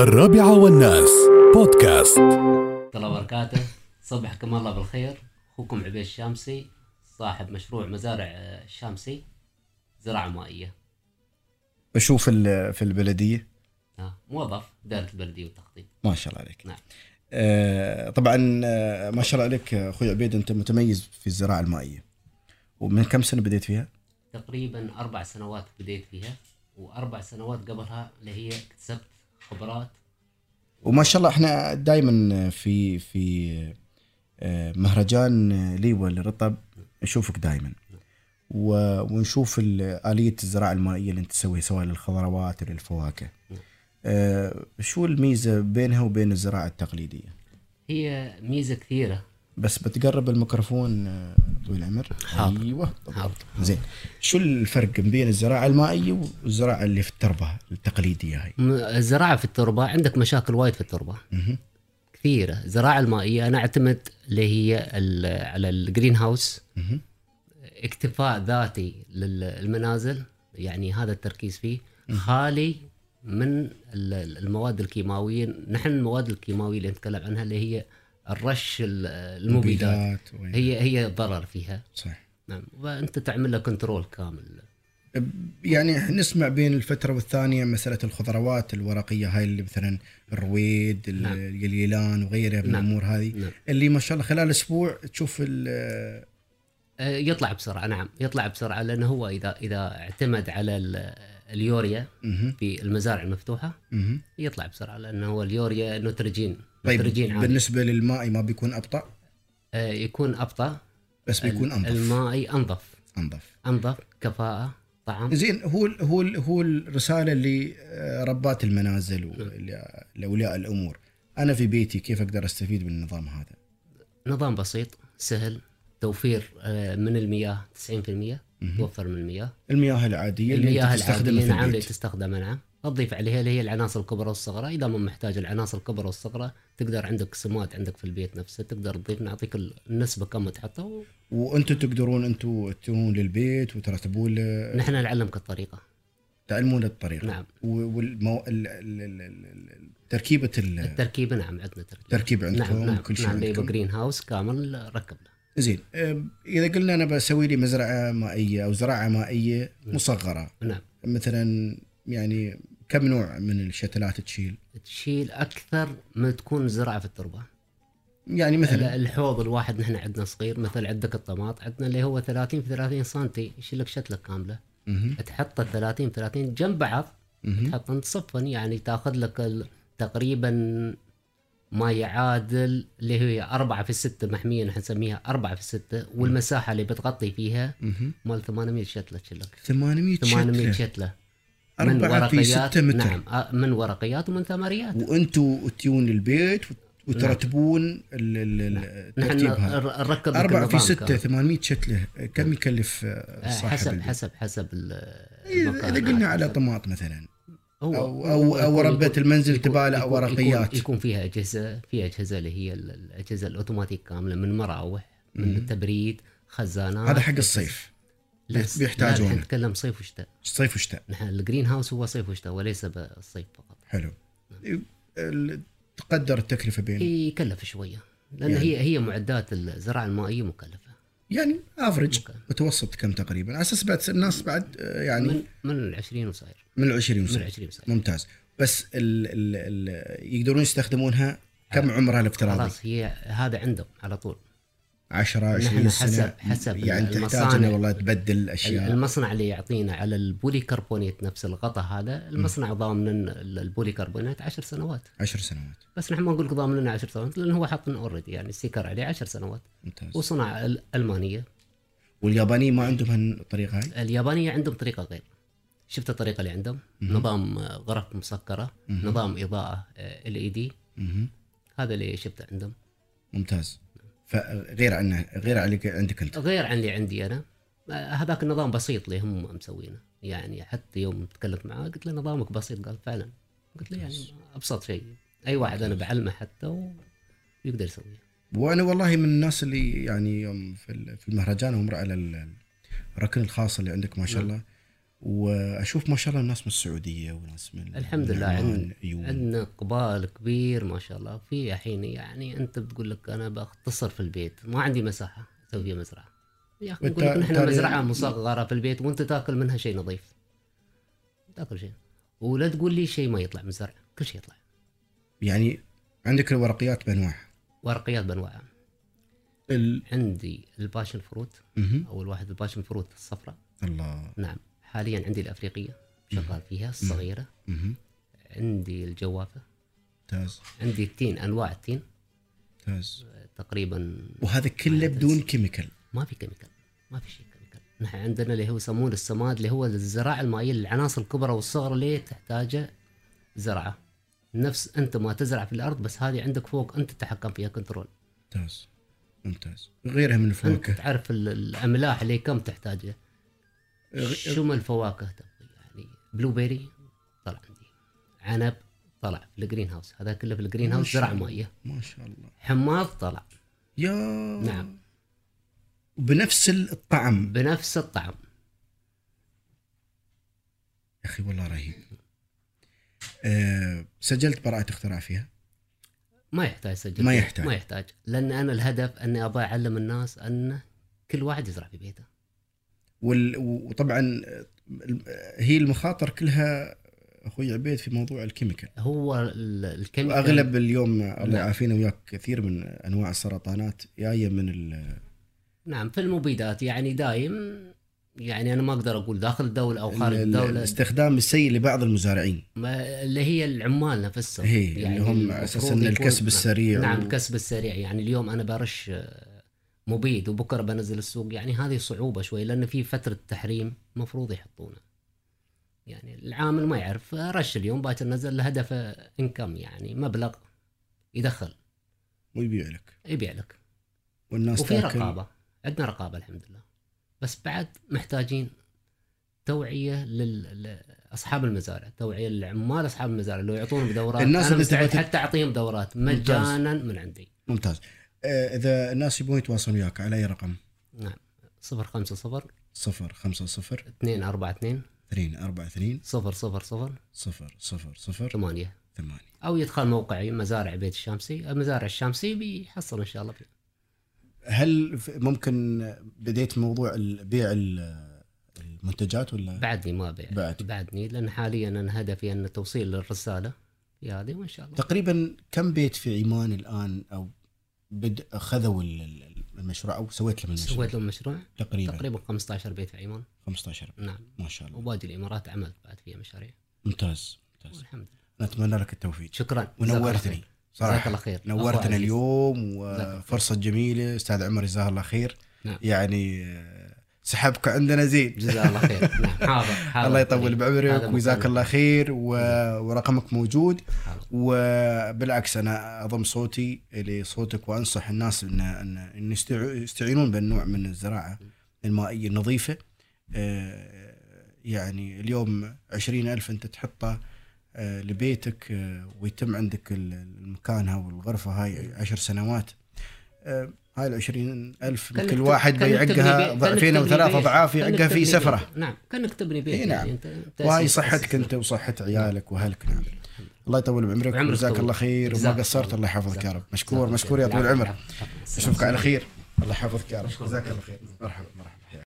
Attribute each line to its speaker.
Speaker 1: الرابعة والناس بودكاست
Speaker 2: الله وبركاته صبحكم الله بالخير اخوكم عبيد الشامسي صاحب مشروع مزارع آه، الشامسي زراعه مائيه
Speaker 3: بشوف ال- في البلديه
Speaker 2: آه، موظف دائره البلديه والتخطيط
Speaker 3: ما شاء الله عليك
Speaker 2: نعم.
Speaker 3: آه طبعا آه ما شاء الله عليك اخوي عبيد انت متميز في الزراعه المائيه ومن كم سنه بديت فيها؟
Speaker 2: تقريبا اربع سنوات بديت فيها واربع سنوات قبلها اللي هي اكتسبت خبرات
Speaker 3: وما شاء الله احنا دائما في في آه، مهرجان ليوى للرطب نشوفك دائما ونشوف ال- آلية الزراعة المائية اللي انت تسويها سواء للخضروات او للفواكه. آه، شو الميزة بينها وبين الزراعة التقليدية؟
Speaker 2: هي ميزه كثيره
Speaker 3: بس بتقرب الميكروفون آه، طويل العمر
Speaker 2: حاضر.
Speaker 3: ايوه
Speaker 2: حاضر.
Speaker 3: زين شو الفرق بين الزراعه المائيه والزراعه اللي في التربه التقليديه هاي
Speaker 2: م- الزراعه في التربه عندك مشاكل وايد في التربه
Speaker 3: مهم.
Speaker 2: كثيره الزراعه المائيه انا اعتمد اللي هي ال- على الجرين هاوس
Speaker 3: مهم.
Speaker 2: اكتفاء ذاتي للمنازل يعني هذا التركيز فيه خالي من ال- ال- المواد الكيماويه نحن المواد الكيماويه اللي نتكلم عنها اللي هي الرش ال- المبيدات
Speaker 3: وين-
Speaker 2: هي هي ضرر فيها
Speaker 3: صح
Speaker 2: نعم وانت تعمل له كنترول كامل
Speaker 3: يعني نسمع بين الفتره والثانيه مساله الخضروات الورقيه هاي اللي مثلا الرويد ال-
Speaker 2: نعم.
Speaker 3: اليليلان وغيرها من
Speaker 2: نعم.
Speaker 3: الامور هذه
Speaker 2: نعم.
Speaker 3: اللي ما شاء الله خلال اسبوع تشوف ال-
Speaker 2: آه، يطلع بسرعه نعم يطلع بسرعه لانه هو اذا اذا اعتمد على ال- اليوريا
Speaker 3: مهم.
Speaker 2: في المزارع المفتوحه
Speaker 3: مهم.
Speaker 2: يطلع بسرعه لانه هو اليوريا نترجين
Speaker 3: طيب
Speaker 2: نترجين عالي
Speaker 3: بالنسبه للمائي ما بيكون ابطا
Speaker 2: آه، يكون ابطا
Speaker 3: بس بيكون انظف
Speaker 2: المائي انظف
Speaker 3: انظف
Speaker 2: انظف كفاءه طعم
Speaker 3: زين هو ال هو ال هو الرساله اللي آه، ربات المنازل آه، ولاولياء الامور انا في بيتي كيف اقدر استفيد من النظام هذا؟
Speaker 2: نظام بسيط سهل توفير آه، من المياه 90% توفر من المياه
Speaker 3: المياه العاديه اللي
Speaker 2: المياه
Speaker 3: انت يعني تستخدمها
Speaker 2: العاديه نعم
Speaker 3: في
Speaker 2: اللي
Speaker 3: البيت
Speaker 2: تستخدمها نعم تضيف عليها اللي هي العناصر الكبرى والصغرى اذا ما محتاج العناصر الكبرى والصغرى تقدر عندك سمات عندك في البيت نفسه تقدر تضيف نعطيك النسبه كم تحطها و-
Speaker 3: وانتم تقدرون انتم تجون للبيت وترتبون له-
Speaker 2: نحن نعلمك الطريقه
Speaker 3: تعلمون الطريقه
Speaker 2: نعم.
Speaker 3: والمو... تركيبه ال-
Speaker 2: التركيبه نعم عندنا تركيبه
Speaker 3: التركيب عندكم
Speaker 2: نعم نعم
Speaker 3: كل شيء
Speaker 2: نعم
Speaker 3: عندكم.
Speaker 2: بيبو جرين هاوس كامل ركب له
Speaker 3: زين آه، اذا قلنا انا بسوي لي مزرعه مائيه او زراعه مائيه مصغره
Speaker 2: نعم
Speaker 3: مثلا يعني كم نوع من الشتلات تشيل؟
Speaker 2: تشيل اكثر ما تكون زراعه في التربه
Speaker 3: يعني مثلا
Speaker 2: ال- الحوض الواحد نحن عندنا صغير مثل عندك الطماط عندنا اللي هو 30 في 30 سنتي يشيل لك شتله كامله
Speaker 3: مهم.
Speaker 2: تحط ال 30 في 30 جنب بعض
Speaker 3: مهم.
Speaker 2: تحطهم صفن يعني تاخذ لك ال- تقريبا ما يعادل اللي هي 4 في 6 محميه نحن نسميها 4 في 6 والمساحه اللي بتغطي فيها
Speaker 3: مهم.
Speaker 2: مال 800 شتله تشيل لك
Speaker 3: 800
Speaker 2: 800
Speaker 3: شتلة
Speaker 2: شتله من
Speaker 3: أربعة في
Speaker 2: ورقيات
Speaker 3: ستة متر
Speaker 2: نعم آه، من ورقيات ومن ثمريات
Speaker 3: وانتوا تجون البيت وت- وترتبون ال- ال- ال-
Speaker 2: نعم. نحن
Speaker 3: الترتيب هذا
Speaker 2: ر- نركب لك
Speaker 3: أربعة في
Speaker 2: النظام
Speaker 3: ستة
Speaker 2: كامل.
Speaker 3: 800 شتلة كم يكلف آه،
Speaker 2: آه،
Speaker 3: صاحب
Speaker 2: حسب
Speaker 3: البيت؟
Speaker 2: حسب حسب ال-
Speaker 3: إيه، إذا
Speaker 2: المكان،
Speaker 3: إذا قلنا
Speaker 2: آه،
Speaker 3: على
Speaker 2: حسب.
Speaker 3: طماط مثلا
Speaker 2: هو
Speaker 3: أو- أو- أو ربة المنزل تبالة أو ورقيات.
Speaker 2: يكون, يكون فيها اجهزه في اجهزه اللي هي ال- الاجهزه الاوتوماتيك كامله من مراوح من التبريد خزانات
Speaker 3: هذا حق الصيف
Speaker 2: لا،
Speaker 3: بيحتاجونه.
Speaker 2: لا، نحن نتكلم صيف وشتاء
Speaker 3: صيف وشتاء
Speaker 2: نحن الجرين هاوس هو صيف وشتاء وليس بالصيف فقط
Speaker 3: حلو إيه، ال- تقدر التكلفة
Speaker 2: إيه.
Speaker 3: بين
Speaker 2: يكلف شويه لان
Speaker 3: يعني.
Speaker 2: هي هي معدات الزراعه المائيه مكلفه
Speaker 3: يعني افرج
Speaker 2: ممكن.
Speaker 3: متوسط كم تقريبا على اساس بعد الناس بعد آه، يعني
Speaker 2: من من ال 20 وصاير
Speaker 3: من ال 20
Speaker 2: من ال
Speaker 3: سنة
Speaker 2: 20 وصاير
Speaker 3: ممتاز بس ال ال ال يقدرون يستخدمونها كم عمرها الافتراضي؟
Speaker 2: خلاص هي هذا عندهم على طول
Speaker 3: 10
Speaker 2: نحن
Speaker 3: 20 سنه
Speaker 2: حسب- حسب
Speaker 3: يعني تحتاج
Speaker 2: المصانع.
Speaker 3: انه والله تبدل اشياء
Speaker 2: المصنع اللي يعطينا على البولي كربونيت نفس الغطاء هذا المصنع ضامن ال- البولي كربونيت 10 سنوات
Speaker 3: 10 سنوات
Speaker 2: بس نحن ما نقول لك ضامن لنا 10 سنوات لان هو حاطن اوريدي يعني السيكر عليه 10 سنوات
Speaker 3: ممتاز
Speaker 2: وصنع ال- المانيه
Speaker 3: واليابانيين ما عندهم هالطريقه هاي
Speaker 2: اليابانيه عندهم طريقه غير شفت الطريقه اللي عندهم نظام آه، غرف مسكره نظام اضاءه ال اي دي
Speaker 3: مهم.
Speaker 2: هذا اللي شفته عندهم
Speaker 3: ممتاز فغير عنه غير عليك عندك انت
Speaker 2: غير عن اللي عندي انا آه، هذاك النظام بسيط اللي هم مسوينه يعني حتى يوم تكلمت معاه قلت له نظامك بسيط قال فعلا قلت له يعني ابسط شيء اي واحد انا بعلمه حتى ويقدر يسويه
Speaker 3: وانا والله من الناس اللي
Speaker 2: نعم.
Speaker 3: يعني يوم في ال- في المهرجان هم على ال- الركن الخاص اللي عندك ما شاء الله واشوف ما شاء الله الناس من السعوديه وناس من
Speaker 2: الحمد
Speaker 3: من
Speaker 2: لله
Speaker 3: عمان،
Speaker 2: عندنا
Speaker 3: أيوة.
Speaker 2: عندنا اقبال كبير ما شاء الله في الحين يعني انت بتقول لك انا بختصر في البيت ما عندي مساحه اسوي فيها مزرعه يا اخي نقول لك
Speaker 3: والتا-
Speaker 2: نحن
Speaker 3: تالي-
Speaker 2: مزرعه مصغره في البيت وانت تاكل منها شيء نظيف تاكل شيء ولا تقول لي شيء ما يطلع من الزرع كل شيء يطلع
Speaker 3: يعني عندك الورقيات بانواعها
Speaker 2: ورقيات بانواعها
Speaker 3: ال...
Speaker 2: عندي الباشن فروت
Speaker 3: مهم.
Speaker 2: اول واحد الباشن فروت الصفراء
Speaker 3: الله
Speaker 2: نعم حاليا عندي الافريقيه شغال فيها الصغيره
Speaker 3: مهم.
Speaker 2: عندي الجوافه
Speaker 3: ممتاز
Speaker 2: عندي التين انواع التين
Speaker 3: ممتاز
Speaker 2: تقريبا
Speaker 3: وهذا كله بدون كيميكال
Speaker 2: ما في كيميكال ما في شيء كيميكال نحن عندنا اللي هو يسمونه السماد اللي هو الزراعه المائيه العناصر الكبرى والصغرى اللي تحتاجه زراعه نفس انت ما تزرع في الارض بس هذه عندك فوق انت تتحكم فيها كنترول
Speaker 3: ممتاز ممتاز غيرها من
Speaker 2: انت
Speaker 3: الفواكه
Speaker 2: تعرف ال- الاملاح اللي كم تحتاجه شو من الفواكه تبغي يعني بلو بيري طلع عندي عنب طلع في الجرين هاوس يعني هذا كله في الجرين
Speaker 3: ما
Speaker 2: هاوس
Speaker 3: شاء
Speaker 2: زرع
Speaker 3: الله.
Speaker 2: مائيه
Speaker 3: ما شاء الله
Speaker 2: حماض طلع
Speaker 3: يا
Speaker 2: نعم
Speaker 3: بنفس الطعم
Speaker 2: بنفس الطعم
Speaker 3: يا اخي والله رهيب أه سجلت براءة اختراع فيها
Speaker 2: ما يحتاج سجل
Speaker 3: ما
Speaker 2: فيه.
Speaker 3: يحتاج.
Speaker 2: ما يحتاج لان انا الهدف اني ابغى اعلم الناس ان كل واحد يزرع في بيته
Speaker 3: وال... وطبعا آه، هي المخاطر كلها اخوي عبيد في موضوع الكيميكال
Speaker 2: هو ال- الكيميكال
Speaker 3: اغلب اليوم الله
Speaker 2: نعم.
Speaker 3: يعافينا وياك كثير من انواع السرطانات جايه من ال...
Speaker 2: نعم في المبيدات يعني دايم يعني انا ما اقدر اقول داخل الدوله او خارج
Speaker 3: ال-
Speaker 2: الدوله
Speaker 3: الاستخدام السيء لبعض المزارعين
Speaker 2: ما- اللي هي العمال نفسهم
Speaker 3: هي، اللي هم
Speaker 2: يعني المفروض
Speaker 3: أساساً
Speaker 2: يكون-
Speaker 3: الكسب
Speaker 2: نعم،
Speaker 3: السريع
Speaker 2: نعم
Speaker 3: و-
Speaker 2: الكسب السريع يعني اليوم انا برش آه، مبيد وبكره بنزل السوق يعني هذه صعوبه شوي لان في فتره تحريم المفروض يحطونه يعني العامل ما يعرف رش اليوم باكر نزل لهدف انكم يعني مبلغ يدخل
Speaker 3: ويبيع لك
Speaker 2: يبيع لك
Speaker 3: والناس
Speaker 2: وفي
Speaker 3: تاكل
Speaker 2: رقابه عندنا رقابه الحمد لله بس بعد محتاجين توعيه لل- لاصحاب المزارع توعيه للعمال اصحاب المزارع لو يعطونهم دورات
Speaker 3: الناس
Speaker 2: انا
Speaker 3: اللي
Speaker 2: مستعد
Speaker 3: تبغى تت-
Speaker 2: حتى اعطيهم دورات
Speaker 3: ممتاز.
Speaker 2: مجانا من عندي
Speaker 3: ممتاز آه، اذا الناس يبغون يتواصلون وياك على اي رقم؟
Speaker 2: نعم 050
Speaker 3: 0 5 0
Speaker 2: 242
Speaker 3: 2 4 2
Speaker 2: 000
Speaker 3: 0 0 0
Speaker 2: 8
Speaker 3: 8
Speaker 2: او يدخل موقعي مزارع بيت الشامسي مزارع الشامسي بيحصل ان شاء الله فيه.
Speaker 3: هل ف- ممكن بديت موضوع ال- بيع ال- المنتجات ولا
Speaker 2: بعدني ما بيع
Speaker 3: بعد.
Speaker 2: بعدني لان حاليا انا هدفي ان توصيل الرساله في هذه وان شاء الله
Speaker 3: تقريبا كم بيت في عمان الان او بد اخذوا ال- ال- المشروع او سويت لهم المشروع
Speaker 2: سويت لهم مشروع
Speaker 3: تقريبا
Speaker 2: تقريبا 15 بيت في عيون
Speaker 3: 15
Speaker 2: نعم
Speaker 3: ما شاء الله
Speaker 2: وباقي الامارات عملت بعد فيها مشاريع
Speaker 3: ممتاز ممتاز
Speaker 2: والحمد لله
Speaker 3: أنا اتمنى لك التوفيق
Speaker 2: شكرا
Speaker 3: ونورتني
Speaker 2: جزاك الله
Speaker 3: صراحه
Speaker 2: خير أخو
Speaker 3: نورتنا
Speaker 2: عزيز.
Speaker 3: اليوم
Speaker 2: جزاك الله خير.
Speaker 3: وفرصه جميله استاذ عمر جزاه الله خير
Speaker 2: نعم.
Speaker 3: يعني آه، سحبك عندنا زين
Speaker 2: جزاه الله خير نعم حاضر حاضر
Speaker 3: الله يطول
Speaker 2: هذا
Speaker 3: بعمرك
Speaker 2: مكالمة.
Speaker 3: وجزاك الله خير و... ورقمك موجود
Speaker 2: حاضر.
Speaker 3: وبالعكس انا اضم صوتي لصوتك وانصح الناس ان ان, إن يستع- يستعينون بالنوع من الزراعه المائيه النظيفه آه، يعني اليوم عشرين ألف أنت تحطه آه، لبيتك آه، ويتم عندك ال- المكان هاي والغرفة هاي عشر سنوات آه، هاي العشرين ألف
Speaker 2: كأنك
Speaker 3: كل
Speaker 2: تب-
Speaker 3: واحد
Speaker 2: كأنك تبني
Speaker 3: بيعقها
Speaker 2: بيت-
Speaker 3: ضعفين
Speaker 2: كأنك
Speaker 3: أو ثلاثة
Speaker 2: تبني بيت.
Speaker 3: أضعاف
Speaker 2: كأنك
Speaker 3: يعقها في
Speaker 2: تبني
Speaker 3: سفرة
Speaker 2: بيت. نعم كانك تبني بيت
Speaker 3: إي نعم.
Speaker 2: يعني أنت- أنت
Speaker 3: وهاي
Speaker 2: أساس-
Speaker 3: صحتك
Speaker 2: أساس.
Speaker 3: انت وصحه عيالك واهلك نعم الله يطول بعمرك
Speaker 2: وعمرك
Speaker 3: وجزاك
Speaker 2: طول.
Speaker 3: الله خير وما
Speaker 2: جزاك
Speaker 3: قصرت
Speaker 2: الله.
Speaker 3: الله يحفظك
Speaker 2: جزاك
Speaker 3: يا رب
Speaker 2: الله.
Speaker 3: مشكور
Speaker 2: جزاك
Speaker 3: مشكور يا
Speaker 2: الله
Speaker 3: طويل
Speaker 2: خير.
Speaker 3: العمر
Speaker 2: العافية.
Speaker 3: اشوفك على خير الله يحفظك يا رب جزاك الله خير مرحبا مرحبا